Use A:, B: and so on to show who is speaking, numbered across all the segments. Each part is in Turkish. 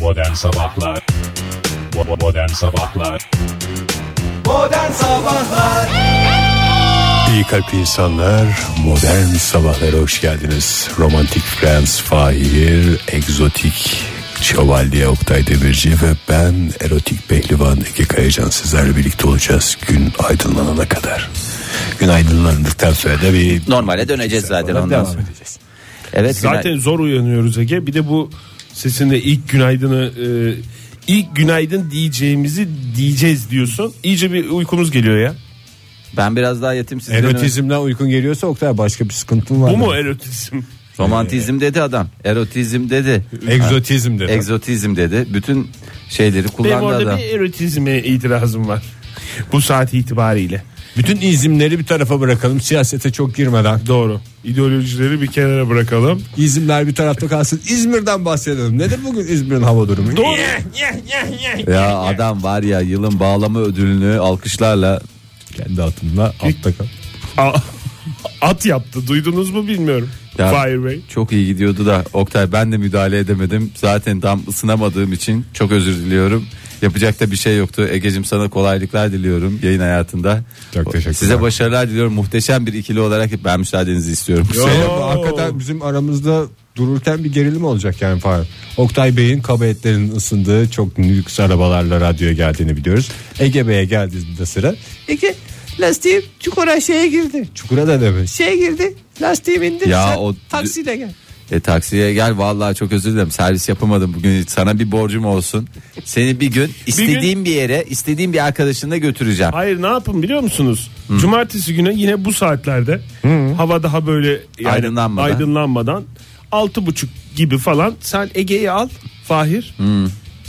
A: Modern Sabahlar Bo- Modern Sabahlar
B: Modern Sabahlar
C: İyi kalp insanlar modern sabahlara hoş geldiniz. Romantik Prens Fahir, egzotik Şövalye Oktay Demirci ve ben erotik pehlivan Ege Kayacan sizlerle birlikte olacağız gün aydınlanana kadar. Gün aydınlandıktan sonra da bir
D: Normale döneceğiz zaten ondan
C: devam
D: sonra.
C: edeceğiz.
D: Evet
E: Zaten
D: günaydın.
E: zor uyanıyoruz Ege. Bir de bu sesinde ilk günaydını e, ilk günaydın diyeceğimizi diyeceğiz diyorsun. İyice bir uykumuz geliyor ya.
D: ben biraz daha yatayım sizden. önce.
C: Erotizmden uykun geliyorsa Oktay başka bir sıkıntın var
E: Bu
C: mı?
E: mu erotizm?
D: Romantizm dedi adam. Erotizm dedi.
C: Egzotizm dedi.
D: Egzotizm dedi. Bütün şeyleri
E: Benim
D: kullandı
E: orada
D: adam.
E: bir erotizme itirazım var. Bu saat itibariyle.
C: Bütün izimleri bir tarafa bırakalım siyasete E, çok girmeden.
E: Doğru. İdeolojileri bir kenara bırakalım.
C: İzimler bir tarafta kalsın. İzmir'den bahsedelim. Nedir bugün İzmir'in hava durumu?
E: Doğru.
D: Ya adam var ya yılın bağlama ödülünü alkışlarla
C: Kendi atımla altta kal.
E: A- At yaptı. Duydunuz mu bilmiyorum.
D: Ya-
E: Fire Bey.
D: çok iyi gidiyordu da Oktay ben de müdahale edemedim. Zaten tam ısınamadığım için çok özür diliyorum. Yapacak da bir şey yoktu. Egecim sana kolaylıklar diliyorum yayın hayatında.
C: Çok teşekkürler.
D: Size başarılar diliyorum. Muhteşem bir ikili olarak ben müsaadenizi istiyorum.
C: Selam. hakikaten bizim aramızda dururken bir gerilim olacak yani Fahir. Oktay Bey'in kaba etlerinin ısındığı çok lüks arabalarla radyoya geldiğini biliyoruz. Ege Bey'e geldiğinde sıra. Ege lastiğim çukura şeye girdi. Çukura da demiş.
F: şeye girdi. Lastiğim indi.
D: Ya
F: Sen
D: o-
F: taksiyle gel.
D: E taksiye gel vallahi çok özür dilerim servis yapamadım bugün sana bir borcum olsun. Seni bir gün istediğim bir, yere istediğim bir arkadaşınla götüreceğim.
E: Hayır ne yapın biliyor musunuz? Cumartesi günü yine bu saatlerde hava daha böyle yani
D: Aydınlanmadan.
E: aydınlanmadan altı buçuk gibi falan sen Ege'yi al Fahir.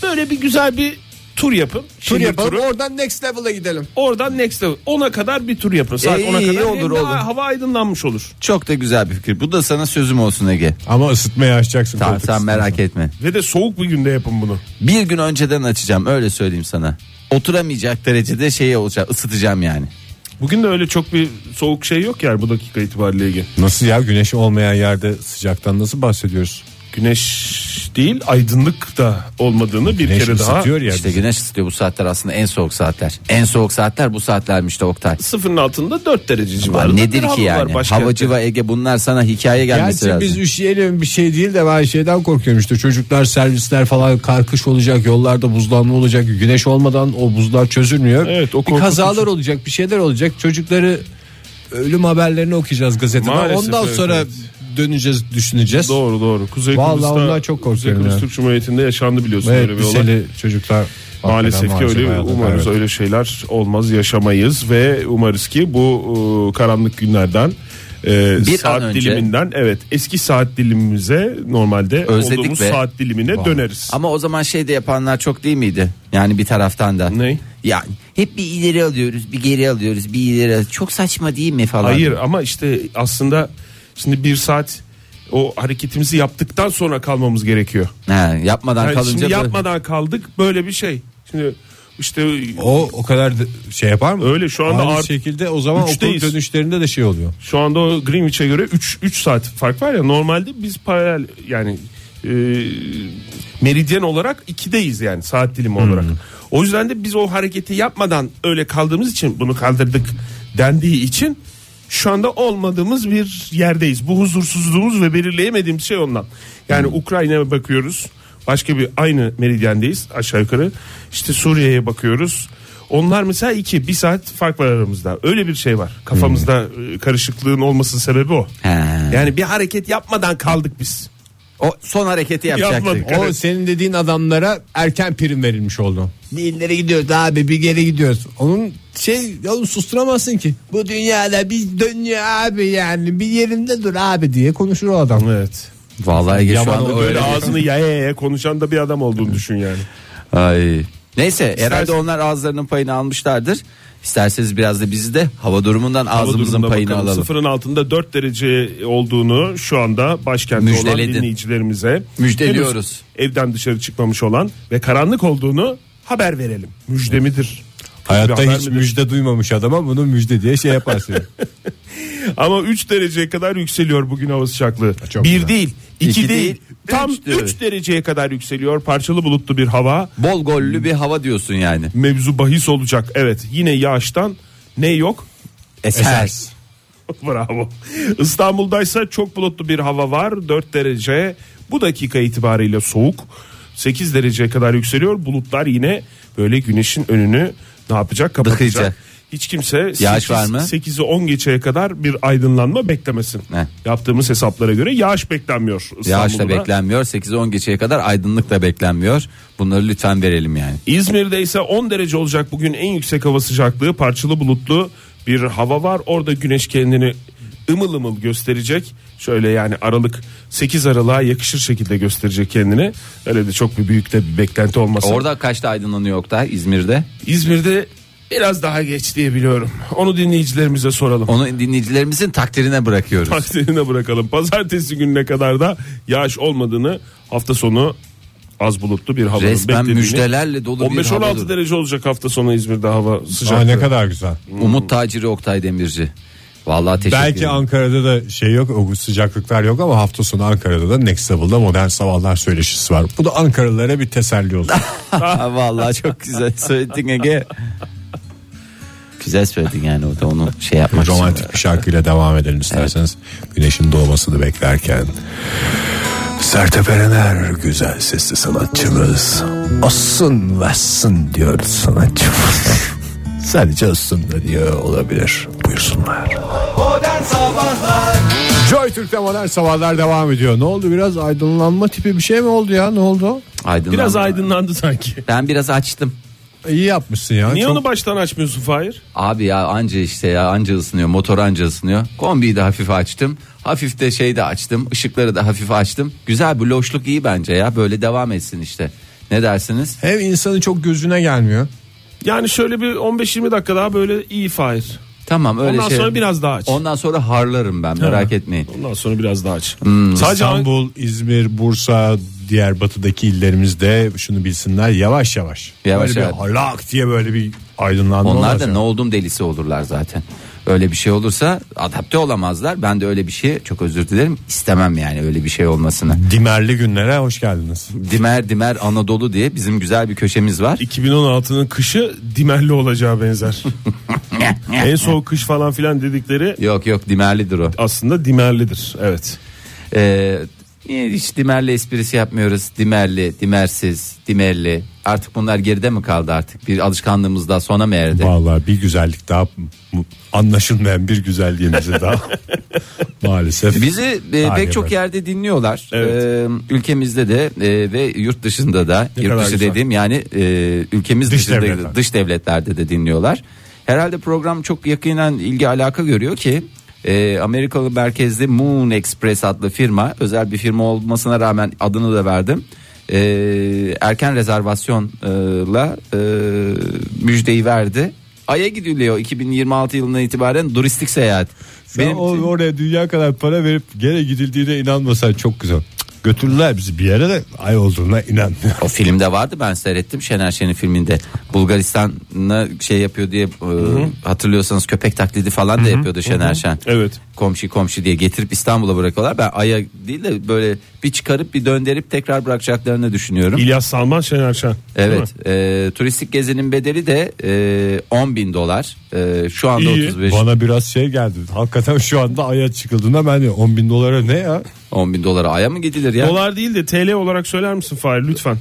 E: Böyle bir güzel bir tur yapın.
C: Tur
E: Şehir
C: yapalım
E: turu.
C: oradan next level'a gidelim.
E: Oradan next level. Ona kadar bir tur yapın. Saat
D: E,
E: ona
D: iyi,
E: kadar.
D: olur,
E: Hem de
D: olur.
E: Hava aydınlanmış olur.
D: Çok da güzel bir fikir. Bu da sana sözüm olsun Ege.
C: Ama ısıtmayı açacaksın.
D: Tamam
C: koltuk
D: sen
C: ısıtmayı.
D: merak etme.
E: Ve de soğuk bir günde yapın bunu.
D: Bir gün önceden açacağım öyle söyleyeyim sana. Oturamayacak derecede şey olacak ısıtacağım yani.
E: Bugün de öyle çok bir soğuk şey yok yani bu dakika itibariyle Ege.
C: Nasıl ya güneş olmayan yerde sıcaktan nasıl bahsediyoruz?
E: Güneş değil aydınlık da olmadığını bir
C: Güneş
E: kere daha
C: ısıtıyor ya.
D: İşte güneş ısıtıyor bu saatler aslında en soğuk saatler. En soğuk saatler bu saatlermiş de Oktay.
E: sıfırın altında 4 derece civarında.
D: Nedir ki
E: bir hava var
D: yani?
E: başkentte.
D: Havacı ve Ege bunlar sana hikaye gelmesi
C: Gerçi
D: lazım.
C: biz üşüyelim bir şey değil de ben şeyden korkuyorum işte çocuklar servisler falan karkış olacak yollarda buzlanma olacak güneş olmadan o buzlar çözülmüyor.
E: Evet, o şey.
C: bir
E: korkutucu.
C: kazalar olacak bir şeyler olacak çocukları ölüm haberlerini okuyacağız gazetede
E: Maalesef,
C: ondan
E: evet,
C: sonra
E: evet.
C: döneceğiz düşüneceğiz.
E: Doğru doğru. Kuzey
C: Vallahi
E: Kıbrıs'ta
C: ondan çok korkuyorum
E: Kuzey Kıbrıs
C: ya.
E: Türk Cumhuriyeti'nde yaşandı biliyorsun
C: Ve
E: öyle bir olay.
C: liseli çocuklar
E: Maalesef ki
C: hakikaten
E: öyle
C: maalesef
E: umarız
C: hayatı
E: öyle şeyler olmaz yaşamayız ve umarız ki bu e, karanlık günlerden e,
D: Bir
E: saat
D: an önce-
E: diliminden evet eski saat dilimimize normalde
D: Özledik
E: olduğumuz
D: be.
E: saat dilimine döneriz.
D: Ama o zaman şey de yapanlar çok değil miydi? Yani bir taraftan da.
E: Ne?
D: Yani hep bir ileri alıyoruz, bir geri alıyoruz, bir ileri alıyoruz. Çok saçma değil mi falan?
E: Hayır ama işte aslında şimdi bir saat o hareketimizi yaptıktan sonra kalmamız gerekiyor.
D: Ha, yapmadan
E: Yani
D: kalınca
E: şimdi
D: böyle-
E: yapmadan kaldık böyle bir şey. Şimdi işte
C: O o kadar da şey yapar mı?
E: Öyle, şu anda
C: Aynı
E: art-
C: şekilde o zaman okul
E: üçteyiz.
C: dönüşlerinde de şey oluyor.
E: şu anda o Greenwich'e göre 3 3 saat fark var ya normalde biz paralel yani e, meridyen olarak 2'deyiz yani saat dilimi
D: Hmm.
E: olarak. O yüzden de biz o hareketi yapmadan öyle kaldığımız için bunu kaldırdık dendiği için şu anda olmadığımız bir yerdeyiz. Bu huzursuzluğumuz ve belirleyemediğimiz şey ondan. Yani
D: Hmm.
E: Ukrayna'ya bakıyoruz. Başka bir aynı meridyendeyiz aşağı yukarı. İşte Suriye'ye bakıyoruz. Onlar mesela iki bir saat fark var aramızda. Öyle bir şey var. Kafamızda e, karışıklığın olmasının sebebi o.
D: Hmm. He.
E: Yani bir hareket yapmadan kaldık biz.
D: O son hareketi
E: Yapmadık.
D: yapacaktık.
C: O senin dediğin adamlara erken prim verilmiş oldu. Bir ileri gidiyoruz abi bir geri gidiyoruz. Onun şey onu susturamazsın ki. Bu dünyada bir dönüyor abi yani bir yerinde dur abi diye konuşur o adam.
E: Evet.
D: Vallahi Ege şu
C: Yaman
D: anda
C: oldu.
E: Böyle
D: öyle.
E: ağzını yaya yaya konuşan da bir adam olduğunu düşün yani.
D: Ay. Neyse herhalde onlar ağızlarının payını almışlardır. İsterseniz biraz da bizi de hava durumundan ağzımızın
E: Hava durumuna
D: payını
E: bakalım.
D: alalım.
E: Sıfırın altında 4 derece olduğunu şu anda başkentte
D: Müjdeledin.
E: olan dinleyicilerimize
D: Müjdeliyoruz.
E: henüz evden dışarı çıkmamış olan ve karanlık olduğunu haber verelim. Müjdemidir. bir
C: Hayatta
E: haber
C: hiç
E: mi?
C: müjde duymamış adama bunu müjde diye şey yaparsın.
E: Ama 3 dereceye kadar yükseliyor bugün hava sıcaklığı.
C: Çok
E: 1
C: güzel.
E: değil, 2
D: İki
E: değil.
D: değil,
E: Tam
D: üç
E: 3 dereceye kadar yükseliyor. Parçalı bulutlu bir hava.
D: Bol gollü bir hava diyorsun yani.
E: Mevzu bahis olacak. Evet, yine yağıştan ne yok?
D: Eser.
E: Bravo. İstanbul'daysa çok bulutlu bir hava var. 4 derece bu dakika itibariyle soğuk. 8 dereceye kadar yükseliyor. Bulutlar yine böyle güneşin önünü ne yapacak? Kapatacak.
D: Dıkayacak.
E: Hiç kimse
D: Yağış var mı?
E: 8'i 10 geçeye kadar bir aydınlanma beklemesin.
D: Heh.
E: Yaptığımız hesaplara göre yağış beklenmiyor
D: Yağış da
E: İstanbul'da.
D: beklenmiyor. 8-10 geçeye kadar aydınlık da beklenmiyor. Bunları lütfen verelim yani.
E: İzmir'de ise 10 derece olacak bugün en yüksek hava sıcaklığı parçalı bulutlu bir hava var. Orada güneş kendini ımıl ımıl gösterecek. Şöyle yani Aralık 8 Aralık'a yakışır şekilde gösterecek kendini. Öyle de çok bir büyük de bir beklenti olmasın.
D: Orada kaçta aydınlanıyor Oktay İzmir'de?
E: İzmir'de biraz daha geç diye biliyorum. Onu dinleyicilerimize soralım.
D: Onu dinleyicilerimizin takdirine bırakıyoruz.
E: Takdirine bırakalım. Pazartesi gününe kadar da yağış olmadığını hafta sonu az bulutlu bir hava
D: Resmen müjdelerle dolu bir
E: 15-16
D: havadır.
E: derece olacak hafta sonu İzmir'de hava
C: Aa,
E: sıcaklığı.
C: ne kadar güzel.
D: Umut Taciri Oktay Demirci. Vallahi teşekkür
C: Belki
D: ederim.
C: Ankara'da da şey yok o sıcaklıklar yok ama hafta sonu Ankara'da da Next Level'da modern sabahlar söyleşisi var. Bu da Ankaralılara bir teselli olsun.
D: Ha, Vallahi çok güzel söyledin Ege. güzel söyledin yani o da onu şey yapmak için.
C: Romantik bir şarkıyla devam edelim isterseniz. Güneşin doğmasını beklerken. Sertab Erener güzel sesli sanatçımız. Olsun vassın diyor sanatçımız. Sadece olsun da diyor olabilir. Buyursunlar.
B: Modern Sabahlar
C: Joy Türk'te modern sabahlar devam ediyor. Ne oldu biraz aydınlanma tipi bir şey mi oldu ya ne oldu?
D: Aydınlanma.
E: Biraz aydınlandı sanki.
D: Ben biraz açtım.
C: İyi yapmışsın
D: E,
C: ya.
E: Niye
C: Çok-
E: onu baştan açmıyorsun Fahir?
D: Abi ya anca işte ya anca ısınıyor motor anca ısınıyor. Kombiyi de hafif açtım. Hafif de şey de açtım. ışıkları da hafif açtım. Güzel bir loşluk iyi bence ya. Böyle devam etsin işte. Ne dersiniz?
C: Hem insanın çok gözüne gelmiyor.
E: Yani şöyle bir 15-20 dakika daha böyle iyi Fahir.
D: Tamam öyle
E: Ondan
D: şey.
E: sonra biraz daha aç.
D: Ondan sonra harlarım ben merak etmeyin.
E: Ondan sonra biraz daha aç.
D: Hmm,
E: Sadece an-
C: İstanbul, İzmir, Bursa, diğer batıdaki illerimizde şunu bilsinler yavaş yavaş.
D: Yavaş
C: böyle
D: yavaş.
C: bir lak diye böyle bir aydınlanma
D: Onlar
C: olmaz
D: da
C: ya.
D: ne oldum delisi olurlar zaten. Öyle bir şey olursa adapte olamazlar. Ben de öyle bir şey çok özür dilerim istemem yani öyle bir şey olmasını.
C: Dimerli günlere hoş geldiniz.
D: Dimer Dimer Anadolu diye bizim güzel bir köşemiz var.
E: 2016'nın kışı dimerli olacağı benzer. en soğuk kış falan filan dedikleri
D: Yok yok Dimerlidir o.
E: aslında dimerlidir. Evet.
D: Ee, hiç Dimerli esprisi yapmıyoruz. Dimerli, Dimersiz, Dimerli. Artık bunlar geride mi kaldı artık? Bir alışkanlığımız daha sona mı erdi?
C: Vallahi bir güzellik daha anlaşılmayan bir güzelliğimizi daha maalesef.
D: Bizi e,
C: Aynen.
D: pek çok yerde dinliyorlar.
E: Evet.
D: Ee, ülkemizde de e, ve yurt dışında da. yurt
C: kadar
D: dışı
C: güzel.
D: dediğim yani e, ülkemiz
C: Dış
D: dışında
C: devletler.
D: dış devletlerde de dinliyorlar. Herhalde program çok yakinen ilgi alaka görüyor ki e, Amerikalı merkezli Moon Express adlı firma özel bir firma olmasına rağmen adını da verdim. E, erken rezervasyonla e, müjdeyi verdi. Ay'a gidiliyor 2026 yılından itibaren turistik seyahat.
C: Sen
D: Benim
C: o-
D: için-
C: oraya dünya kadar para verip gene gidildiğine inanmasan çok güzel. Cık, Götürdüler bizi bir yere de ay olduğuna inanmıyor.
D: O filmde vardı ben seyrettim Şener Şen'in filminde. Bulgaristan'a şey yapıyor diye e, hatırlıyorsanız köpek taklidi falan da yapıyordu Şener Şen.
E: Evet.
D: Komşu komşu diye getirip İstanbul'a bırakıyorlar. Ben Ay'a değil de böyle bir çıkarıp bir döndürüp tekrar bırakacaklarını düşünüyorum.
E: İlyas Salman Şener Şen. Değil mi?
D: evet. e, turistik gezinin bedeli de e, 10 bin dolar. E, şu anda
E: İyi.
D: 35
C: Bana biraz şey geldi. Hakikaten şu anda aya çıkıldığında ben de 10 bin dolara ne ya?
D: 10 bin dolara Ay'a mı gidilir ya?
E: Dolar değil de TL olarak söyler misin Fahir lütfen?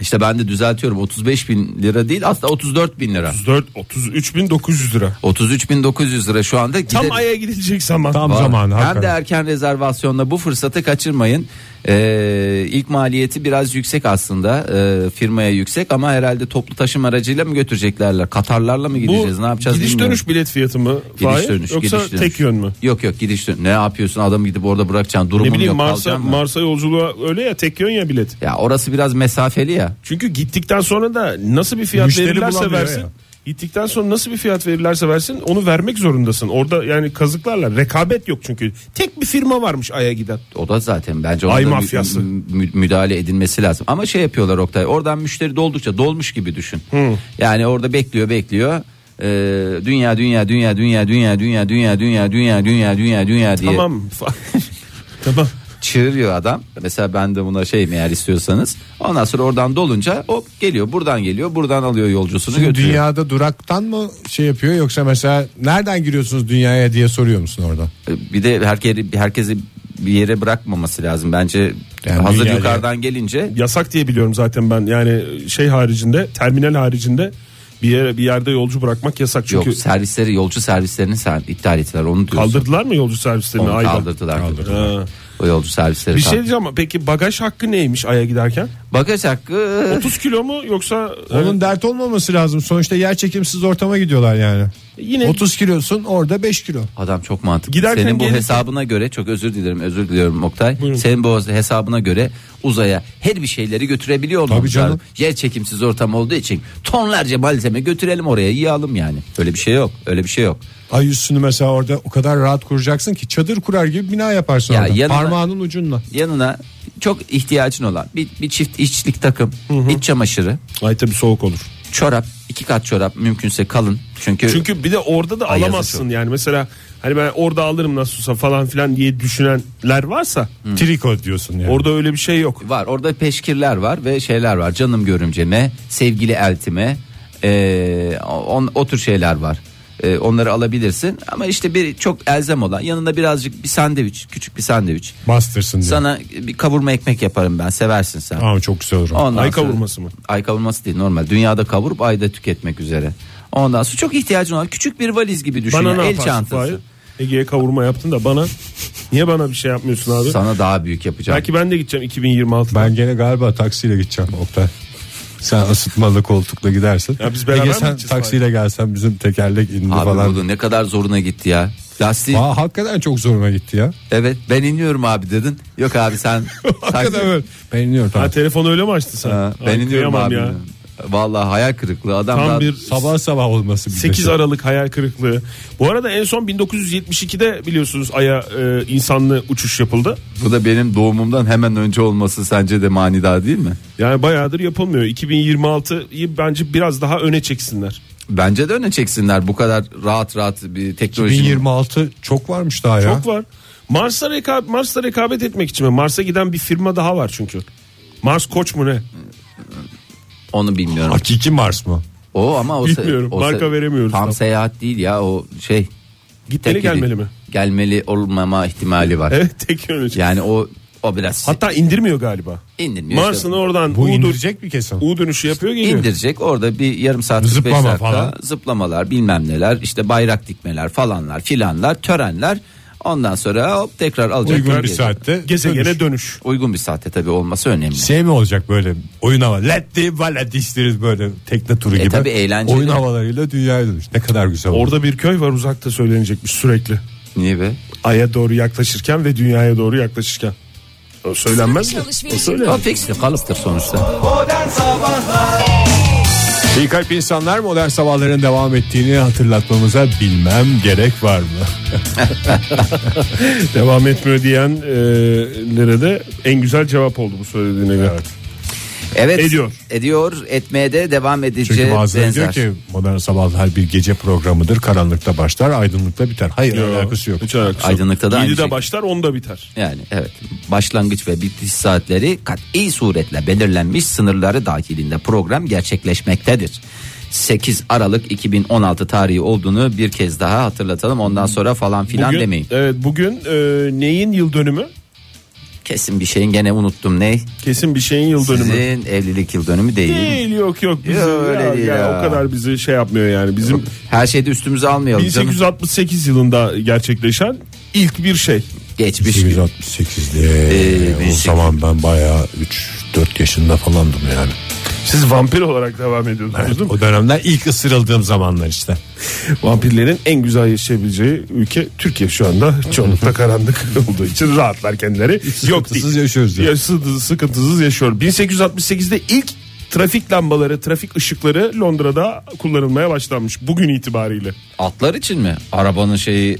D: İşte ben de düzeltiyorum 35 bin lira değil aslında 34 bin lira.
E: 34 33.900 lira.
D: 33 bin 900 lira şu anda.
E: Tam
D: gider-
E: aya gidilecek zaman.
C: Tam
D: Var.
C: zamanı
D: Hem de
C: hakikaten.
D: erken rezervasyonla bu fırsatı kaçırmayın. Ee, ilk maliyeti biraz yüksek aslında Ee, firmaya yüksek ama herhalde toplu taşıma aracıyla mı götüreceklerler? Katarlarla mı gideceğiz? ne yapacağız?
E: gidiş
D: bilmiyorum.
E: dönüş bilet fiyatı mı?
D: Gidiş
E: Fahir?
D: dönüş,
E: Yoksa
D: gidiş dönüş.
E: tek yön mü?
D: Yok yok gidiş dönüş. Ne yapıyorsun? Adam gidip orada bırakacaksın. Durumun
E: Ne bileyim
D: yok.
E: Mars'a,
D: kalacaksın da.
E: Mars'a yolculuğa öyle ya tek yön ya bilet.
D: ya orası biraz mesafeli ya.
E: Çünkü gittikten sonra da nasıl bir fiyat
C: Müşteri
E: verirlerse
C: bulamıyor
E: versin.
C: ya.
E: Gittikten sonra nasıl bir fiyat verirlerse versin onu vermek zorundasın. Orada yani kazıklarla rekabet yok çünkü. Tek bir firma varmış Ay'a giden.
D: O da zaten bence ona
E: Ay
D: da mü-
E: mafyası.
D: mü- müdahale edilmesi lazım. Ama şey yapıyorlar Oktay oradan müşteri doldukça dolmuş gibi düşün. Yani orada bekliyor bekliyor. Ee, dünya dünya dünya dünya dünya dünya dünya dünya dünya dünya dünya dünya diye
E: Tamam. tamam.
D: çığırıyor adam. Mesela ben de buna şeyim eğer istiyorsanız. Ondan sonra oradan dolunca o geliyor buradan geliyor buradan alıyor yolcusunu götürüyor.
G: Dünyada duraktan mı şey yapıyor yoksa mesela nereden giriyorsunuz dünyaya diye soruyor musun orada?
D: Ee, bir de herkesi herkesi bir yere bırakmaması lazım bence
G: Yani
D: hazır
G: dünyaya-
D: yukarıdan gelince
E: Yasak diye biliyorum zaten ben. Yani şey haricinde, terminal haricinde bir yere bir yerde yolcu bırakmak yasak çünkü.
D: yok servisleri yolcu servislerini sen iptal ettiler onu diyorsun.
E: Kaldırdılar mı yolcu servislerini
D: Onu
E: Ay'da?
D: kaldırdılar.
E: Ha.
D: O yolcu servisleri
E: Bir şey
D: kaldırdı.
E: diyeceğim ama peki bagaj hakkı neymiş Ay'a giderken?
D: Bagaj hakkı
E: 30 kilo mu yoksa e,
G: Onun dert olmaması lazım. Sonuçta yer çekimsiz ortama gidiyorlar yani.
E: yine
G: 30 kilosun orada 5 kilo.
D: adam çok mantıklı.
E: Giderken
D: Senin bu
E: gelirken-
D: hesabına göre çok özür dilerim özür diliyorum Oktay. Senin bu hesabına göre uzaya her bir şeyleri götürebiliyor olmamız
G: canım.
D: lazım. Yer çekimsiz ortam olduğu için tonlarca malzeme götürelim oraya yiyelim yani. Öyle bir şey yok. Öyle bir şey yok.
G: Ay üstünü mesela orada o kadar rahat kuracaksın ki çadır kurar gibi bina yaparsın
D: Ya
G: orada.
D: yanına-
G: Parmağının ucunla.
D: Yanına çok ihtiyacın olan bir, bir çift içlik takım, iç çamaşırı,
E: Ay tabii soğuk olur.
D: çorap, iki kat çorap mümkünse kalın. Çünkü,
E: Çünkü bir de orada da
D: E, Ay yazık
E: alamazsın yani mesela hani ben orada alırım nasıl olsa falan filan diye düşünenler varsa
D: Hmm.
G: Triko diyorsun yani.
E: orada öyle bir şey yok.
D: var orada peşkirler var ve şeyler var. Canım görümceme, sevgili eltime, eee, on, o tür şeyler var. Eee, onları alabilirsin ama işte bir çok elzem olan yanında birazcık bir sandviç, küçük bir sandviç.
G: Bastırsın diye.
D: Sana bir kavurma ekmek yaparım ben, seversin sen.
G: Aa, çok güzel olur.
D: Ondan sonra-
E: Ay kavurması mı?
D: Ay kavurması değil normal. Dünyada kavurup ayda tüketmek üzere. Ondan sonra çok ihtiyacın olan küçük bir valiz gibi düşün.
E: Bana
D: ya,
E: ne
D: El
E: yaparsın Fahir?
D: çantası.
E: Ege'ye kavurma yaptın da bana niye bana bir şey yapmıyorsun abi?
D: Sana daha büyük yapacağım.
E: Belki ben de gideceğim 2026'da.
G: Ben gene galiba taksiyle gideceğim Oktay. Sen ısıtmalı koltukla gidersin.
E: Ya biz beraber
G: Ege
E: mi
G: sen
E: gideceğiz
G: taksiyle gelsen bizim tekerlek indi
D: Abi
G: falan.
D: bu ne kadar zoruna gitti ya. Lastik
G: Aa, hakikaten çok zoruma gitti ya.
D: evet ben iniyorum abi dedin. Yok abi sen
G: Hakikaten öyle. Ben iniyorum tamam.
E: Ha telefonu öyle mi açtı sen?
D: Ha,
E: Ay,
D: ben iniyorum
E: kıyamam
D: abi.
E: ya.
D: dedim. Vallahi hayal kırıklığı adam
E: Tam
D: daha-
E: bir
G: Sabah sabah olması bir de
E: 8
G: şey.
E: Aralık hayal kırıklığı. Bu arada en son 1972'de biliyorsunuz Ay'a e, insanlı uçuş yapıldı.
D: bu da benim doğumumdan hemen önce olması sence de manidar değil mi?
E: Yani bayağıdır yapılmıyor. 2026'yı bence biraz daha öne çeksinler.
D: Bence de öne çeksinler bu kadar rahat rahat bir teknoloji.
G: 2026 çok varmış daha ya.
E: Çok var. Mars'a rekabet, Mars'la rekabet etmek için mi? Mars'a giden bir firma daha var çünkü. Mars Koç mu ne?
D: Onu bilmiyorum.
G: Hakiki Mars mı?
D: O ama o se-
E: Bilmiyorum,
D: o se-
E: marka veremiyoruz
D: Tam
E: tam.
D: seyahat değil ya o şey.
E: Gitmeli
D: tek yedi-
E: gelmeli mi?
D: Gelmeli olmama ihtimali var.
E: Evet tek yönlü.
D: Yani o o biraz
E: Hatta indirmiyor galiba.
D: indirmiyor.
E: Mars'ın oradan
G: Bu
E: U, dön-
G: indirecek bir kesin.
E: U dönüşü yapıyor geliyor.
D: indirecek orada bir yarım saat
G: Zıplama
D: beş dakika
G: falan.
D: zıplamalar bilmem neler işte bayrak dikmeler falanlar filanlar törenler ondan sonra hop tekrar alacak.
G: Uygun bir
D: Gelecek.
G: saatte.
E: Gezegene
G: dönüş.
E: dönüş.
D: Uygun bir saatte tabii olması önemli.
G: Şey mi olacak böyle oyun hava. Let the valet istiriz böyle tekne turu gibi.
D: E tabii eğlenceli.
G: Oyun havalarıyla dünyaya dönüş. Ne kadar güzel olur.
E: Orada bir köy var uzakta söylenecekmiş sürekli.
D: Niye be?
E: Ay'a doğru yaklaşırken ve dünyaya doğru yaklaşırken. O söylenmez mi? O söylenir.
D: O fixti kalıptır sonuçta.
B: Modern Sabahlar
G: İyi kalp insanlar modern sabahların devam ettiğini hatırlatmamıza bilmem gerek var mı?
E: Devam etmiyor diyenlere de en güzel cevap oldu bu söylediğine göre.
D: Evet.
E: Ediyor.
D: Ediyor. Etmeye de devam edeceği
G: Çünkü bazıları
D: benzer.
G: diyor ki modern sabahlar bir gece programıdır. Karanlıkta başlar, aydınlıkta biter. Hayır alakası yok.
E: Hiç alakası yok.
D: Aydınlıkta da aynı
E: 7'de
D: şey.
E: başlar 10'da biter.
D: Yani evet başlangıç ve bitiş saatleri kat'i suretle belirlenmiş sınırları dahilinde program gerçekleşmektedir. 8 Aralık 2016 tarihi olduğunu bir kez daha hatırlatalım ondan sonra falan filan
E: Bugün,
D: demeyin.
E: evet, bugün e, neyin yıl dönümü?
D: Kesin bir şeyin gene unuttum ne?
E: Kesin bir şeyin yıl dönümü.
D: Sizin evlilik yıl dönümü değil.
E: Değil yok yok. Bizi,
D: Yok, öyle
E: ya,
D: değil
E: ya,
D: ya.
E: O kadar bizi şey yapmıyor yani. Bizim
D: Her şeyde üstümüze almayalım canım.
E: 1868 yılında gerçekleşen ilk bir şey.
D: Geçmiş gün.
G: 1868'de
D: Ee,
G: o
D: 1800.
G: zaman ben bayağı 3-4 yaşında falandım yani.
E: Siz vampir olarak devam ediyordunuz değil mi?
G: O dönemden ilk ısırıldığım zamanlar işte.
E: Vampirlerin en güzel yaşayabileceği ülke Türkiye şu anda. Çoğunlukla karanlık olduğu için rahatlar kendileri. Yok
G: sıkıntısız
E: değil.
G: yaşıyoruz yani.
E: Yaşsız- sıkıntısız yaşıyor. 1868'de ilk trafik lambaları, trafik ışıkları Londra'da kullanılmaya başlanmış bugün itibariyle.
D: Atlar için mi? Arabanın şeyi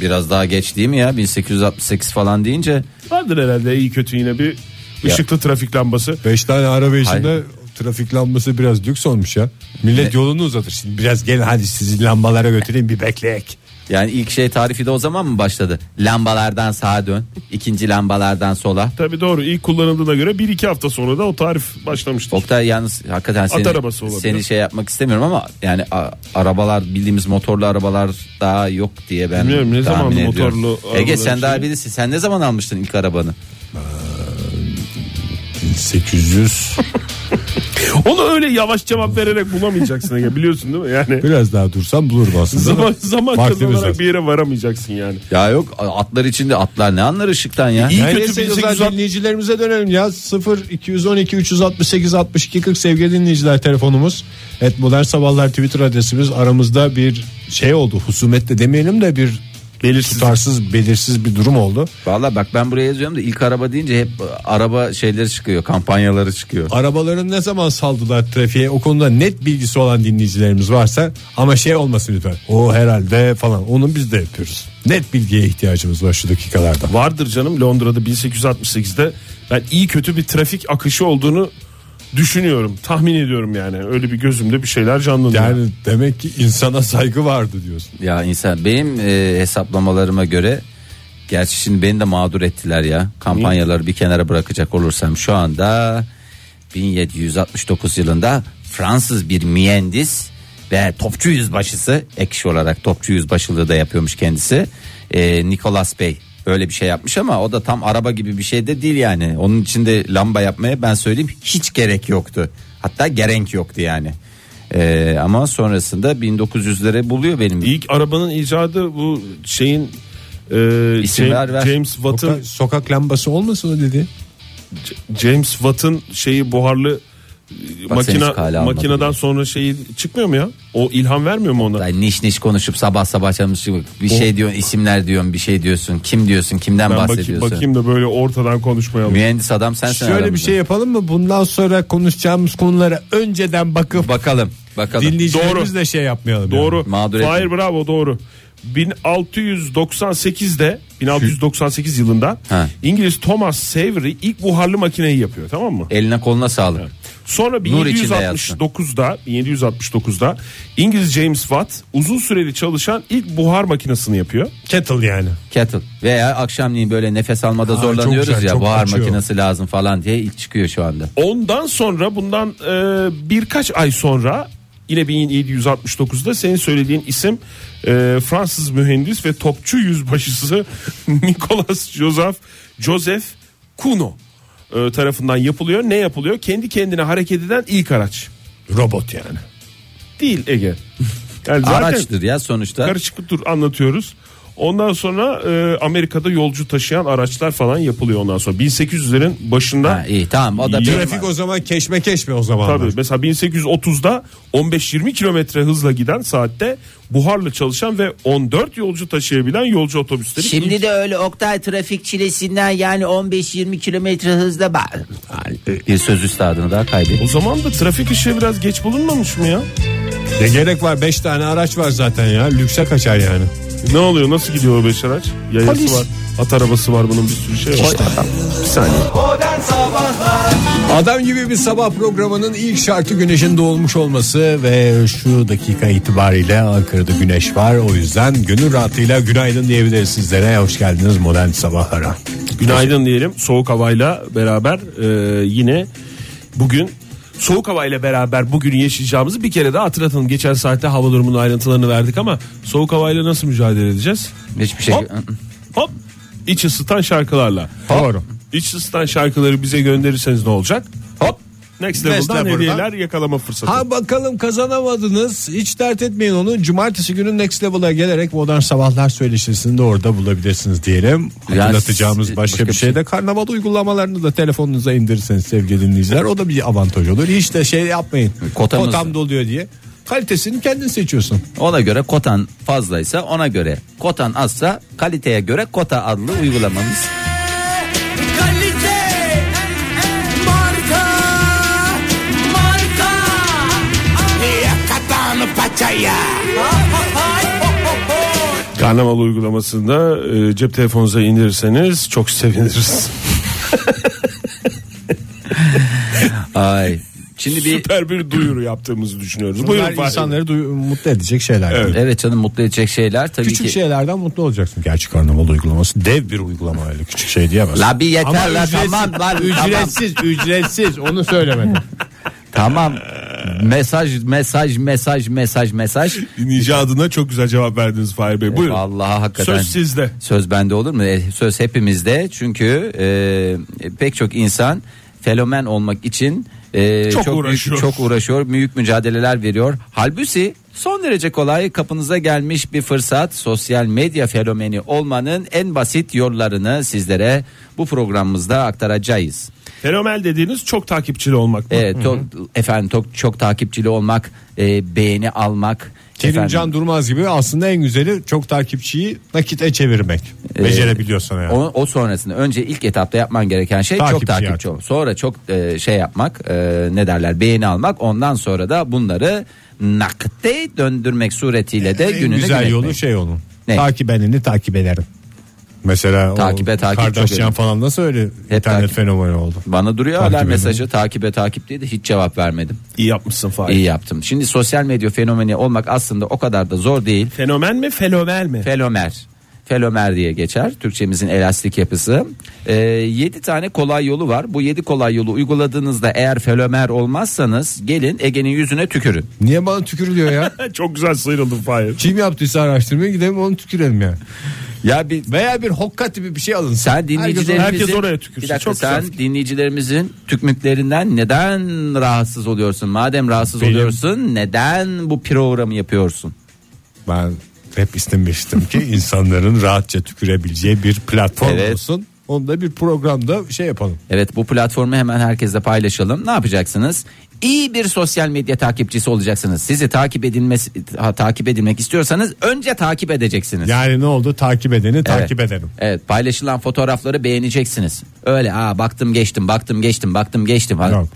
D: biraz daha geç değil mi ya? 1868 falan deyince
E: Vardır herhalde iyi kötü yine bir ışıklı trafik lambası.
G: 5 tane araba içinde
D: Hayır.
G: trafik lambası biraz lüks olmuş ya. Millet yolunu uzatır. Şimdi biraz gelin hadi sizi lambalara götüreyim bir bekleyek.
D: yani ilk şey tarifi de o zaman mı başladı? Lambalardan sağa dön, ikinci lambalardan sola.
E: Tabii doğru ilk kullanıldığına göre 1-2 hafta sonra da o tarif başlamıştır.
D: Oktay yalnız hakikaten seni,
E: arabası olabilir.
D: seni şey yapmak istemiyorum ama yani a- arabalar bildiğimiz motorlu arabalar daha yok diye ben
E: Bilmiyorum, ne
D: tahmin
E: zamandı
D: ediyorum.
E: motorlu
D: Ege
E: arabaların
D: sen daha
E: şeyi?
D: bilirsin. Sen ne zaman almıştın ilk arabanı?
G: 800
E: Onu öyle yavaş cevap vererek bulamayacaksın Ege, biliyorsun değil mi? Yani
G: biraz daha dursam bulurum aslında.
E: zaman, zaman
G: Vaktimiz
E: kazanarak
G: az.
E: bir yere varamayacaksın yani.
D: Ya yok atlar içinde atlar ne anlar ışıktan ya?
E: İyi
G: Yani
E: kötü
G: neyse,
E: 1860
G: güzel dinleyicilerimize dönelim ya 0 212 368 62 40 sevgili dinleyiciler telefonumuz et modern sabahlar twitter adresimiz aramızda bir şey oldu husumetle demeyelim de bir belirsiz. tutarsız belirsiz bir durum oldu
D: Valla bak ben buraya yazıyorum da ilk araba deyince hep araba şeyleri çıkıyor kampanyaları çıkıyor.
G: arabaların ne zaman saldılar trafiğe o konuda net bilgisi olan dinleyicilerimiz varsa ama şey olmasın lütfen o herhalde falan onu biz de yapıyoruz net bilgiye ihtiyacımız var şu dakikalarda
E: Vardır canım Londra'da 1868'de ben iyi kötü bir trafik akışı olduğunu düşünüyorum. Tahmin ediyorum yani. Öyle bir gözümde bir şeyler canlanıyor.
G: yani demek ki insana saygı vardı diyorsun
D: Ya insan benim e, hesaplamalarıma göre gerçi şimdi beni de mağdur ettiler ya. Kampanyaları bir kenara bırakacak olursam şu anda 1769 yılında Fransız bir mühendis ve topçu yüzbaşısı ekşi olarak topçu yüzbaşılığı da yapıyormuş kendisi. E, Nicholas Bey böyle bir şey yapmış ama o da tam araba gibi bir şey de değil yani. Onun için de lamba yapmaya ben söyleyeyim hiç gerek yoktu. Hatta gerek yoktu yani. E, ama sonrasında 1900'lere buluyor benim
E: İlk arabanın icadı bu şeyin e,
D: İsim
E: James,
D: ver, ver.
E: James Watt'ın
G: Sokak, sokak lambası olmasın o dedi
E: James Watt'ın şeyi buharlı
D: Bak seni hiç kale
E: makina
D: almadım
E: makineden
D: ya.
E: sonra şeyi çıkmıyor mu ya? O ilham vermiyor mu ona?
D: Ay niş niş konuşup sabah sabah çalışıp bir şey diyorsun isimler diyorsun bir şey diyorsun kim diyorsun kimden
E: Ben bakayım,
D: bahsediyorsun.
E: bakayım da böyle ortadan konuşmayalım.
D: Mühendis adam sensin
G: Şöyle bir
D: aramızda.
G: şey yapalım mı? Bundan sonra konuşacağımız konulara önceden bakıp
D: Bakalım bakalım.
G: dinleyicilerimizle şey yapmayalım. yani.
E: Doğru.
D: Mağdur
E: Hayır
D: etme.
E: bravo doğru. 1698'de 1698 yılında
D: Ha.
E: İngiliz Thomas Savery ilk buharlı makineyi yapıyor tamam mı?
D: Eline koluna sağlık.
E: Sonra
D: Nur içinde yatsın.
E: 1769'da 1769'da İngiliz James Watt uzun süreli çalışan ilk buhar makinesini yapıyor.
G: Kettle yani.
D: Kettle veya akşamleyin böyle nefes almada
G: çok
D: zorlanıyoruz
G: güzel,
D: ya
G: çok
D: buhar
G: açıyor.
D: makinesi lazım falan diye ilk çıkıyor şu anda.
E: Ondan sonra bundan e, birkaç ay sonra yine 1769'da senin söylediğin isim e, Fransız mühendis ve topçu yüzbaşısı Nicolas Joseph Joseph Kuno e, tarafından yapılıyor. Ne yapılıyor? Kendi kendine hareket eden ilk araç.
G: Robot yani.
E: Değil Ege. Yani zaten
D: Araçtır ya sonuçta.
E: karışık dur anlatıyoruz. Ondan sonra e, Amerika'da yolcu taşıyan araçlar falan yapılıyor ondan sonra. 1800'lerin başında
D: Ha, iyi tamam o da
E: Trafik
D: benim-
G: Trafik o zaman keşmekeş mi o zaman?
E: Tabii mesela 1830'da 15-20 kilometre hızla giden saatte buharla çalışan ve 14 yolcu taşıyabilen yolcu otobüsleri.
D: Şimdi de öyle Oktay trafik çilesinden yani 15-20 kilometre hızla ba- bir söz üstadını daha kaybettim.
E: O zaman da trafik ışığı biraz geç bulunmamış mı ya?
G: Ne gerek var? 5 tane araç var zaten ya. Lükse kaçar yani.
E: Ne oluyor nasıl gidiyor o beş araç? Yayası
F: Polis.
E: var at arabası var bunun bir sürü şey var.
B: Modern Sabahlar
G: Adam gibi bir sabah programının ilk şartı güneşin doğulmuş olması ve şu dakika itibariyle Ankara'da güneş var. O yüzden gönül rahatlığıyla günaydın diyebiliriz sizlere. Hoş geldiniz modern sabahlara.
E: Günaydın diyelim soğuk havayla beraber e, yine bugün soğuk havayla beraber bugün yaşayacağımızı bir kere daha hatırlatalım. Geçen saatte hava durumunun ayrıntılarını verdik ama soğuk havayla nasıl mücadele edeceğiz?
D: Hiçbir şey.
E: Hop. Hop. İç ısıtan şarkılarla.
G: Doğru.
E: İç ısıtan şarkıları bize gönderirseniz ne olacak? Hop. Next Level'dan,
G: Next Level'dan.
E: hediyeler yakalama fırsatı.
G: Ha bakalım kazanamadınız. Hiç dert etmeyin onu. Cumartesi günü Next Level'a gelerek Modern Sabahlar söyleşisini de orada bulabilirsiniz diyelim.
D: Yani
G: Hatırlatacağımız
D: siz-
G: başka, bir şey de karnaval uygulamalarını da telefonunuza indirirseniz sevgili dinleyiciler. O da bir avantaj olur. Hiç de şey yapmayın.
D: Kotamız-
G: Kotam doluyor diye. Kalitesini kendin seçiyorsun.
D: Ona göre kotan fazlaysa ona göre. Kotan azsa kaliteye göre kota adlı uygulamamız.
B: Kalite Marka Marka
E: Karnaval uygulamasında e, cep telefonunuza indirirseniz çok seviniriz.
D: Ay. Şimdi bir
E: Süper bir duyuru yaptığımızı düşünüyoruz.
G: Bunlar
E: Buyurun Fahri.
G: insanları duy- mutlu edecek şeyler.
E: Evet.
D: evet canım mutlu edecek şeyler tabii
G: Küçük şey.
D: ki.
G: şeylerden mutlu olacaksın. Gerçi karnaval uygulaması dev bir uygulama öyle küçük şey diyemezsin.
D: La bir yeter
G: Ama
D: la
G: ücretsiz-
D: tamam lan tamam.
G: Ücretsiz, ücretsiz onu söylemedim.
D: Tamam. Mesaj mesaj mesaj mesaj mesaj.
E: Dinleyici adına çok güzel cevap verdiniz Fahri Bey. Buyurun.
D: Vallahi hakikaten.
E: Söz sizde.
D: Söz bende olur mu? E, Söz hepimizde. Çünkü e, pek çok insan fenomen olmak için e,
E: Çok
D: büyük-
E: uğraşıyor.
D: çok uğraşıyor. Büyük mücadeleler veriyor. Halbuki son derece kolay kapınıza gelmiş bir fırsat. Sosyal medya fenomeni olmanın en basit yollarını sizlere bu programımızda aktaracağız.
E: Fenomen dediğiniz çok takipçili olmak. mı?
D: Evet, çok, efendim çok, çok takipçili olmak, e, beğeni almak. efendim-
G: Kerimcan Durmaz gibi aslında en güzeli çok takipçiyi nakite çevirmek. Becerebiliyorsan yani.
D: Ee, O, o sonrasında önce ilk etapta yapman gereken şey
G: Takipçi
D: çok takipçi
G: yani.
D: olmak. Sonra çok e, şey yapmak e, ne derler beğeni almak. Ondan sonra da bunları nakde döndürmek suretiyle de
G: E, en
D: gününü
G: güzel
D: gün
G: yolu
D: etmek.
G: şey onun.
D: Ne?
G: Takip edeni takip ederim. Mesela
D: Takibe
G: o
D: takip çok
G: Kardashian
D: önemli.
G: falan nasıl öyle internet
D: takip.
G: fenomeni oldu.
D: Bana duruyor
G: Takip
D: hala
G: edin.
D: mesajı takibe takip diye de hiç cevap vermedim.
E: İyi yapmışsın Fahri.
D: İyi yaptım. Şimdi sosyal medya fenomeni olmak aslında o kadar da zor değil.
E: Fenomen mi fenomen mi?
D: Felomer. Felomer diye geçer. Türkçemizin elastik yapısı. 7 tane kolay yolu var. Bu 7 kolay yolu uyguladığınızda eğer felomer olmazsanız gelin Ege'nin yüzüne tükürün.
G: Niye bana tükürüyor ya?
E: çok güzel sıyrıldım Fahri.
G: Kim yaptıysa araştırmaya gidelim onu tükürelim yani.
D: Ya bir
G: Veya bir hokka tipi bir şey alın.
D: sen dinleyicilerimizin
E: herkes oraya tükürsün.
D: Bir dakika,
E: Çok
D: sen
E: güzel.
D: dinleyicilerimizin tükmüklerinden neden rahatsız oluyorsun? Madem rahatsız oluyorsun neden bu programı yapıyorsun?
G: Ben hep istemiştim ki insanların rahatça tükürebileceği bir platform
D: Evet.
G: olsun. Onu da bir programda şey yapalım.
D: Evet bu platformu hemen herkesle paylaşalım. Ne yapacaksınız? İyi bir sosyal medya takipçisi olacaksınız. Sizi takip edilmesi ha, takip edilmek istiyorsanız önce takip edeceksiniz.
G: Yani ne oldu? Takip edeni
D: Evet.
G: takip edelim.
D: Evet paylaşılan fotoğrafları beğeneceksiniz. Öyle aa baktım geçtim baktım geçtim baktım geçtim. Ha,
G: Yok.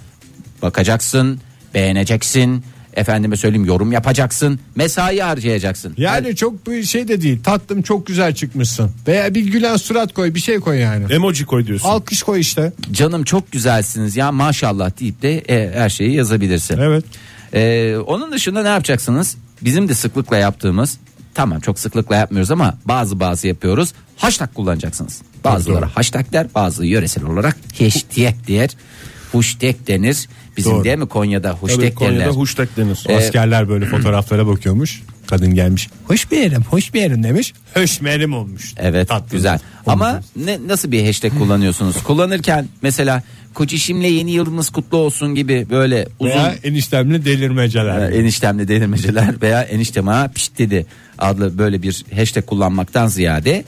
D: Bakacaksın beğeneceksin efendime söyleyeyim yorum yapacaksın mesai harcayacaksın.
G: Yani çok bir şey de değil. Tatlım çok güzel çıkmışsın. Veya bir gülen surat koy, bir şey koy yani.
E: Emoji koy diyorsun.
G: Alkış koy işte.
D: Canım çok güzelsiniz ya maşallah deyip de e, her şeyi yazabilirsin.
G: Evet.
D: Ee, onun dışında ne yapacaksınız? Bizim de sıklıkla yaptığımız tamam çok sıklıkla yapmıyoruz ama bazı bazı yapıyoruz. Hashtag kullanacaksınız. Bazıları hashtag der bazı yöresel olarak hashtag der. Hashtag denir. Bizim
G: Doğru.
D: değil mi Konya'da hashtag
E: Tabii Konya'da
D: derler.
E: huştek denir.
G: Askerler böyle fotoğraflara bakıyormuş. Kadın gelmiş. Hoş bir yerim, hoş bir yerim demiş. Hoş merim olmuş.
D: Evet
G: Tatlı.
D: güzel. Ama ne, nasıl bir hashtag kullanıyorsunuz? Kullanırken mesela Koçişimle yeni yılımız kutlu olsun gibi böyle uzun
G: Veya eniştemli delirmeceler.
D: Ee, eniştemle delirmeceler veya eniştem ha pişt dedi adlı böyle bir hashtag kullanmaktan ziyade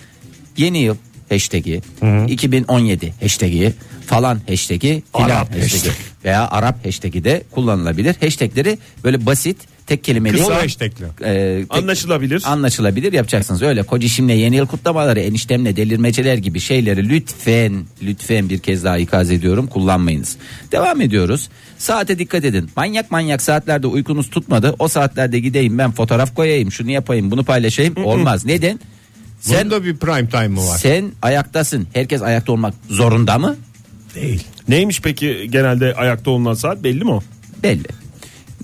D: yeni yıl hashtag'i 2017 hashtag'i falan hashtag'i filan
G: Arap
D: hashtag'i
G: hashtag.
D: veya Arap hashtag'i de kullanılabilir. Hashtag'leri böyle basit tek kelimeli
G: Kısa
D: olan,
G: hashtag'li.
D: e, tek-
E: Anlaşılabilir.
D: anlaşılabilir yapacaksınız. Öyle kocişimle yeni yıl kutlamaları eniştemle delirmeceler gibi şeyleri lütfen lütfen bir kez daha ikaz ediyorum kullanmayınız. Devam ediyoruz. Saate dikkat edin. Manyak manyak saatlerde uykunuz tutmadı. O saatlerde gideyim ben fotoğraf koyayım şunu yapayım bunu paylaşayım. Olmaz. Neden? Sen,
G: Bunun da bir prime time'ı var.
D: sen ayaktasın. Herkes ayakta olmak zorunda mı?
G: Değil.
E: Neymiş peki genelde ayakta olunan saat belli mi o?
D: Belli.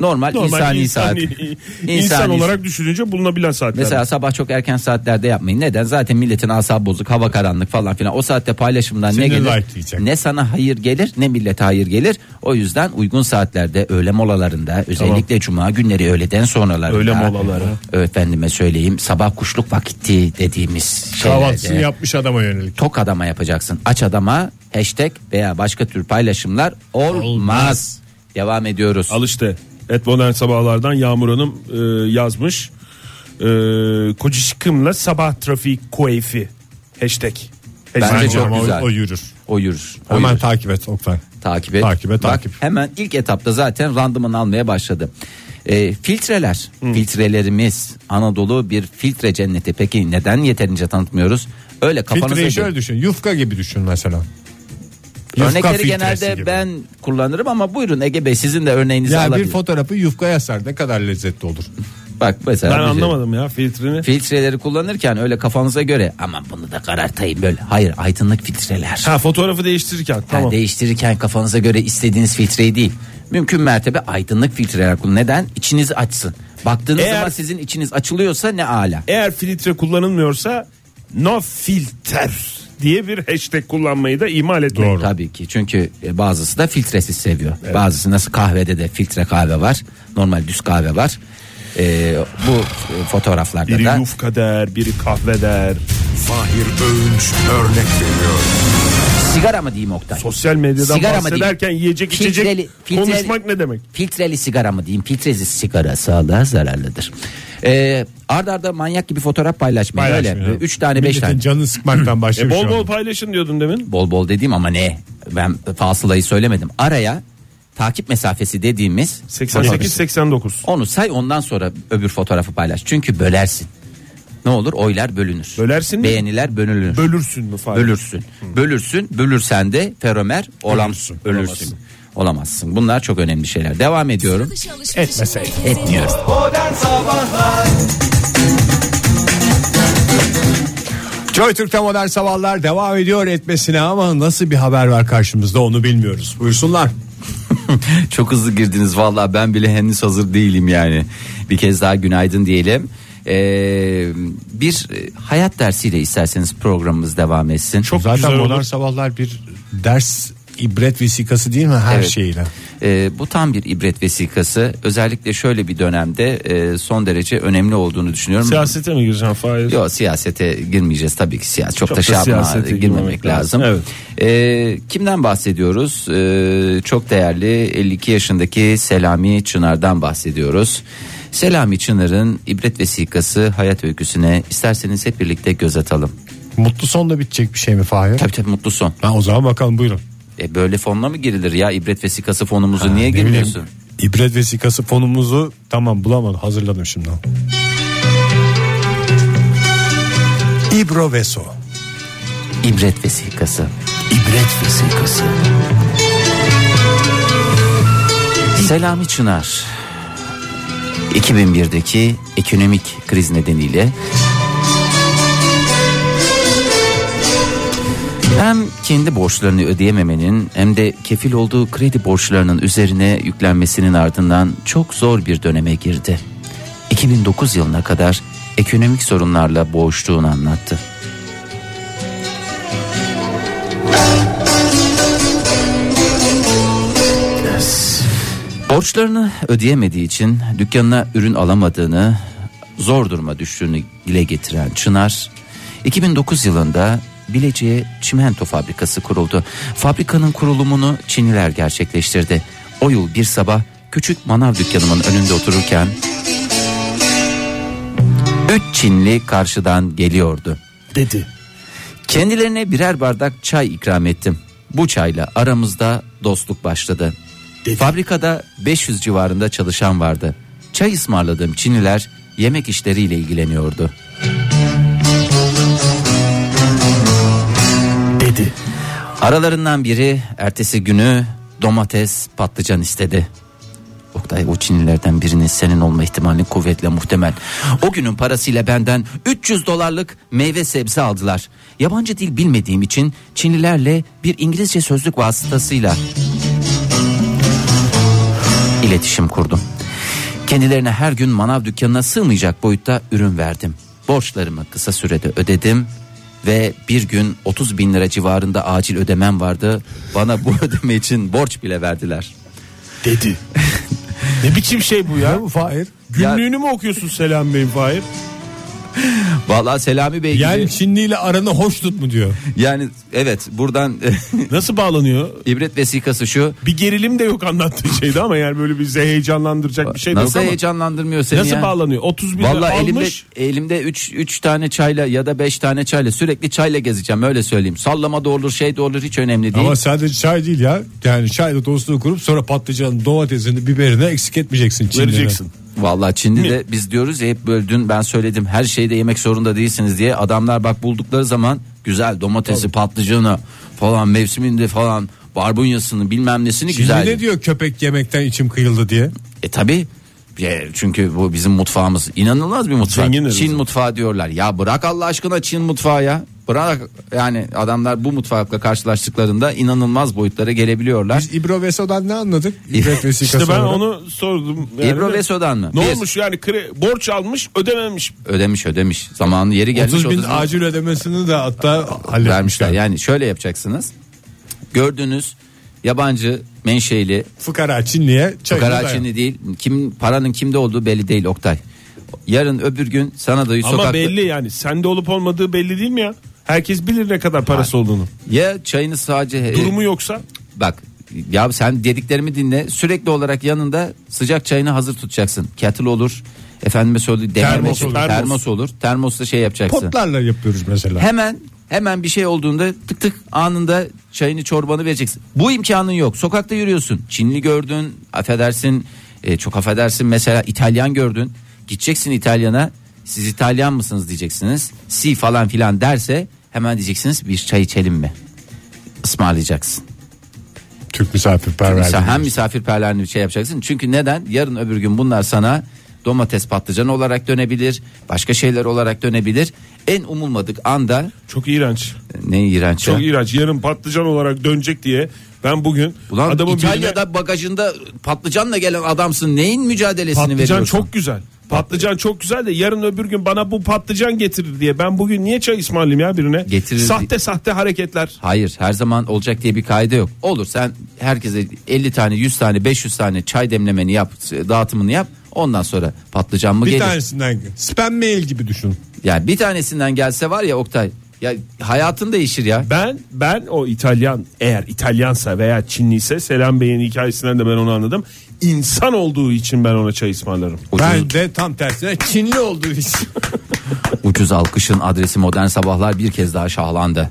D: Normal,
E: Normal
D: insani, saat.
E: insani- insan olarak düşününce bulunabilen saatler.
D: Mesela sabah çok erken saatlerde yapmayın. Neden? Zaten milletin asabı bozuk, hava karanlık falan filan. O saatte paylaşımdan ne
G: Sinir
D: gelir?
G: like diyecek.
D: Ne sana hayır gelir, ne millete hayır gelir. O yüzden uygun saatlerde, öğle molalarında, özellikle cuma günleri öğleden sonralarında.
E: Öğle molaları.
D: Efendime söyleyeyim, sabah kuşluk vakti dediğimiz
G: Kahvaltısını
D: şeylerde.
G: yapmış adama yönelik.
D: Tok adama yapacaksın. Aç adama hashtag veya başka tür paylaşımlar olmaz.
G: Olmaz.
D: Devam ediyoruz.
E: Al işte. Et modern sabahlardan Yağmur Hanım e, yazmış. E, Kocişkımla sabah trafik keyfi hashtag.
D: Bence
E: Hashtag
D: çok
E: var.
G: Ama o-
D: güzel.
G: O yürür.
D: o yürür. o
G: Hemen
D: yürür.
G: takip et Oktay.
D: Takip et.
G: Takip
D: Bak,
G: et, takip.
D: Hemen ilk etapta zaten randıman almaya başladı. Ee, filtreler, filtrelerimiz Anadolu bir filtre cenneti. Peki neden yeterince tanıtmıyoruz? Öyle kafanıza
G: Filtreyi
D: göre.
G: şöyle düşün. Yufka gibi düşün mesela. Yufka
D: Örnekleri
G: filtresi
D: genelde
G: gibi.
D: ben kullanırım ama buyurun Ege Bey sizin de örneğinizi
G: ya
D: alabilirim.
G: bir fotoğrafı yufkaya sar ne kadar lezzetli olur.
D: Bak mesela
E: Ben
D: bir şey-
E: anlamadım ya filtreni.
D: Filtreleri kullanırken öyle kafanıza göre aman bunu da karartayım böyle. Hayır aydınlık filtreler.
E: Ha fotoğrafı değiştirirken
D: Yani
E: tamam.
D: değiştirirken kafanıza göre istediğiniz filtreyi değil. Mümkün mertebe aydınlık filtreler kullanın. Neden? İçiniz açsın. Baktığınız
E: Eğer-
D: zaman sizin içiniz açılıyorsa ne ala.
E: Eğer filtre kullanılmıyorsa no filter diye bir hashtag kullanmayı da ihmal etmeyin.
D: Tabii ki çünkü e, bazısı da filtresiz seviyor. Bazısı nasıl kahvede de filtre kahve var. Normal düz kahve var. E, bu e, fotoğraflarda
E: Biri
D: da
E: yufka der, biri kahve der.
C: Fahir Öğünç örnek veriyor.
D: sigara mı diyeyim Oktay?
E: Sosyal medyadan
D: Sigara mı
E: bahsederken
D: diyeyim?
E: yiyecek içecek
D: Filtreli- filtreli-
E: konuşmak ne demek?
D: Filtreli sigara mı diyeyim? Filtresiz sigara sağlığa zararlıdır. E, arda arda manyak gibi fotoğraf paylaşmayın. Öyle.
G: Paylaşmayın.
D: Üç tane beş
G: Milletin
D: tane.
G: canını sıkmaktan başlıyor
E: E,
G: Şey şu
E: bol bol
G: anda.
E: paylaşın diyordun demin.
D: bol bol dediğim ama ne ben fasılayı söylemedim araya takip mesafesi dediğimiz
E: 88-89.
D: onu say ondan sonra öbür fotoğrafı paylaş çünkü bölersin ne olur oylar bölünür
E: Bölersin mi?
D: beğeniler bölünür
E: Bölürsün mü Fahir?
D: bölürsün bölürsün bölürsen de feromer olamsın ölürsün olamazsın bunlar çok önemli şeyler devam ediyorum
H: Etmeseydin.
D: etmiyoruz
B: Modern Sabahlar
G: Joy Türk'te modern sabahlar devam ediyor etmesine ama nasıl bir haber var karşımızda onu bilmiyoruz. Buyursunlar.
D: Çok hızlı girdiniz vallahi ben bile henüz hazır değilim yani. Bir kez daha günaydın diyelim. Ee, bir hayat dersiyle isterseniz programımız devam etsin.
E: Çok
G: Zaten
E: güzel
G: modern
E: olur.
G: sabahlar bir ders ibret vesikası değil mi her
D: Evet.
G: şeyle?
D: Ee, bu tam bir ibret vesikası. Özellikle şöyle bir dönemde e, son derece önemli olduğunu düşünüyorum.
E: Siyasete mi gireceksin Fahir?
D: Yok siyasete girmeyeceğiz tabii ki siyaset çok,
E: Çok
D: da
E: da
D: şey yapma,
E: siyasete
D: girmemek
E: girmemek
D: lazım.
E: lazım.
D: Ee, kimden bahsediyoruz? Ee, çok değerli 52 yaşındaki Selami Çınar'dan bahsediyoruz. Selami Çınar'ın ibret vesikası hayat öyküsüne isterseniz hep birlikte göz atalım.
G: Mutlu sonla bitecek bir şey mi Fahir?
D: Tabii tabii mutlu son.
G: Ha, o zaman bakalım buyurun.
D: E, böyle fonla mı girilir ya ibret vesikası fonumuzu niye
G: Ne bileyim,
D: girmiyorsun?
G: İbret vesikası fonumuzu tamam bulamadım hazırladım şimdi. İbro Veso.
D: İbret vesikası.
C: İbret vesikası.
D: Selami Çınar 2001'deki ekonomik kriz nedeniyle hem kendi borçlarını ödeyememenin hem de kefil olduğu kredi borçlarının üzerine yüklenmesinin ardından çok zor bir döneme girdi. 2009 yılına kadar ekonomik sorunlarla boğuştuğunu anlattı. Borçlarını ödeyemediği için dükkanına ürün alamadığını, zor duruma düştüğünü dile getiren Çınar, 2009 yılında Bilecik'e çimento fabrikası kuruldu. Fabrikanın kurulumunu Çinliler gerçekleştirdi. O yıl bir sabah küçük manav dükkanımın önünde otururken üç Çinli karşıdan geliyordu.
E: Dedi.
D: Kendilerine birer bardak çay ikram ettim. Bu çayla aramızda dostluk başladı. Fabrikada 500 civarında çalışan vardı. Çay ısmarladığım Çinliler yemek işleriyle ilgileniyordu.
E: Dedi.
D: Aralarından biri ertesi günü domates, patlıcan istedi. Oktay o Çinlilerden birinin senin olma ihtimali kuvvetle muhtemel. O günün parasıyla benden 300 dolarlık meyve sebze aldılar. Yabancı dil bilmediğim için Çinlilerle bir İngilizce sözlük vasıtasıyla iletişim kurdum. Kendilerine her gün manav dükkanına sığmayacak boyutta ürün verdim. Borçlarımı kısa sürede ödedim ve bir gün 30 bin lira civarında acil ödemem vardı. Bana bu ödeme için borç bile verdiler.
E: Dedi. ne biçim şey bu ya?
G: Fahir.
E: Günlüğünü mü okuyorsun Selam Bey'in Fahir?
D: Vallahi Selami Bey gibi-
G: Yani
D: yani,
G: Çinli ile aranı hoş tut mu diyor.
D: evet buradan
E: Nasıl bağlanıyor?
D: ibret vesikası şu.
E: Bir gerilim de yok anlattığı şeyde ama yani böyle bizi heyecanlandıracak bir şey de yok
D: Nasıl
E: ama.
D: heyecanlandırmıyor seni
E: Nasıl
D: ya?
E: bağlanıyor? 30 bin lira
D: Vallahi elimde
E: almış.
D: elimde 3 3 tane çayla ya da 5 tane çayla sürekli çayla gezeceğim öyle söyleyeyim. Sallama da olur, şey de olur hiç önemli değil.
G: Ama sadece çay değil ya. Yani çayla dostluğu kurup sonra patlıcanın domatesini biberini eksik etmeyeceksin Çinli'den.
E: Vereceksin.
D: Vallahi Çin'de de biz diyoruz ya hep böyle dün ben söyledim her şeyi de yemek zorunda değilsiniz diye. Adamlar bak buldukları zaman güzel domatesi, patlıcanı falan mevsiminde falan barbunyasını bilmem nesini
G: Çinli
D: güzel.
G: ne diyor köpek yemekten içim kıyıldı diye.
D: E tabi Ya, Çünkü bu bizim mutfağımız inanılmaz bir mutfak.
G: Zenginiz
D: Çin
G: bizim.
D: mutfağı diyorlar. Ya bırak Allah aşkına Çin mutfağı ya. Bırak yani adamlar bu mutfakla karşılaştıklarında inanılmaz boyutlara gelebiliyorlar.
G: Biz İbro Veso'dan ne anladık? İbret vesikası
E: İşte ben
G: olarak.
E: onu sordum.
D: İbro Veso'dan mı?
E: Ne
D: Biz-
E: olmuş yani kre, borç almış ödememiş.
D: Ödemiş ödemiş. Zamanı yeri gelmiş.
G: 30 bin
D: 30 bin
G: acil ödemesini de hatta
D: vermişler.
G: halletmişler.
D: Yani şöyle yapacaksınız. Gördüğünüz yabancı menşeli
G: Fukara Çinli'ye çayını
D: Fukara
G: dayan.
D: Çinli değil. Kim paranın kimde olduğu belli değil Oktay. Yarın öbür gün sana da
E: Ama
D: sokakta
E: belli yani sende olup olmadığı belli değil mi ya? Herkes bilir ne kadar parası olduğunu.
D: ya çayını sadece e,
E: Durumu yoksa
D: bak ya sen dediklerimi dinle. Sürekli olarak yanında sıcak çayını hazır tutacaksın. Kettle olur. Efendime söyledi
E: Termos olur.
D: Termos. termos olur. Termosla şey yapacaksın.
G: Potlarla yapıyoruz mesela.
D: Hemen hemen bir şey olduğunda tık tık anında çayını çorbanı vereceksin. Bu imkanın yok. Sokakta yürüyorsun. Çinli gördün, affedersin, e, çok affedersin mesela İtalyan gördün. Gideceksin İtalyana. Siz İtalyan mısınız diyeceksiniz. Si falan filan derse hemen diyeceksiniz bir çay içelim mi? Ismarlayacaksın.
G: Türk misafirperverliği.
D: Misa- hem misafirperverliğini bir şey yapacaksın. Çünkü neden? Yarın öbür gün bunlar sana domates patlıcan olarak dönebilir. Başka şeyler olarak dönebilir. En umulmadık anda
E: çok iğrenç.
D: ne iğrenç ya.
E: Çok iğrenç. Yarın patlıcan olarak dönecek diye ben bugün
D: Ulan
E: adamın birine-
D: İtalya'da bagajında patlıcanla gelen adamsın neyin mücadelesini
E: patlıcan
D: veriyorsun?
E: çok güzel. Patlıcan çok güzel de yarın öbür gün bana bu patlıcan getirir diye ben bugün niye çay ısmarlayayım ya birine?
D: Getirir
E: Sahte sahte hareketler.
D: Hayır her zaman olacak diye bir kaide yok. Olur sen herkese 50 tane 100 tane 500 tane çay demlemeni yap dağıtımını yap. Ondan sonra patlıcan mı
G: Bir
D: gelir?
G: tanesinden spam mail gibi düşün.
D: Yani bir tanesinden gelse var ya Oktay ya hayatın değişir ya.
E: Ben ben o İtalyan eğer İtalyansa veya Çinliyse Selam Bey'in hikayesinden de ben onu anladım. İnsan olduğu için ben ona çay ısmarlarım.
D: Ucuz,
G: Ben de tam tersine Çinli olduğu için.
D: ucuz alkışın adresi modern sabahlar bir kez daha şahlandı.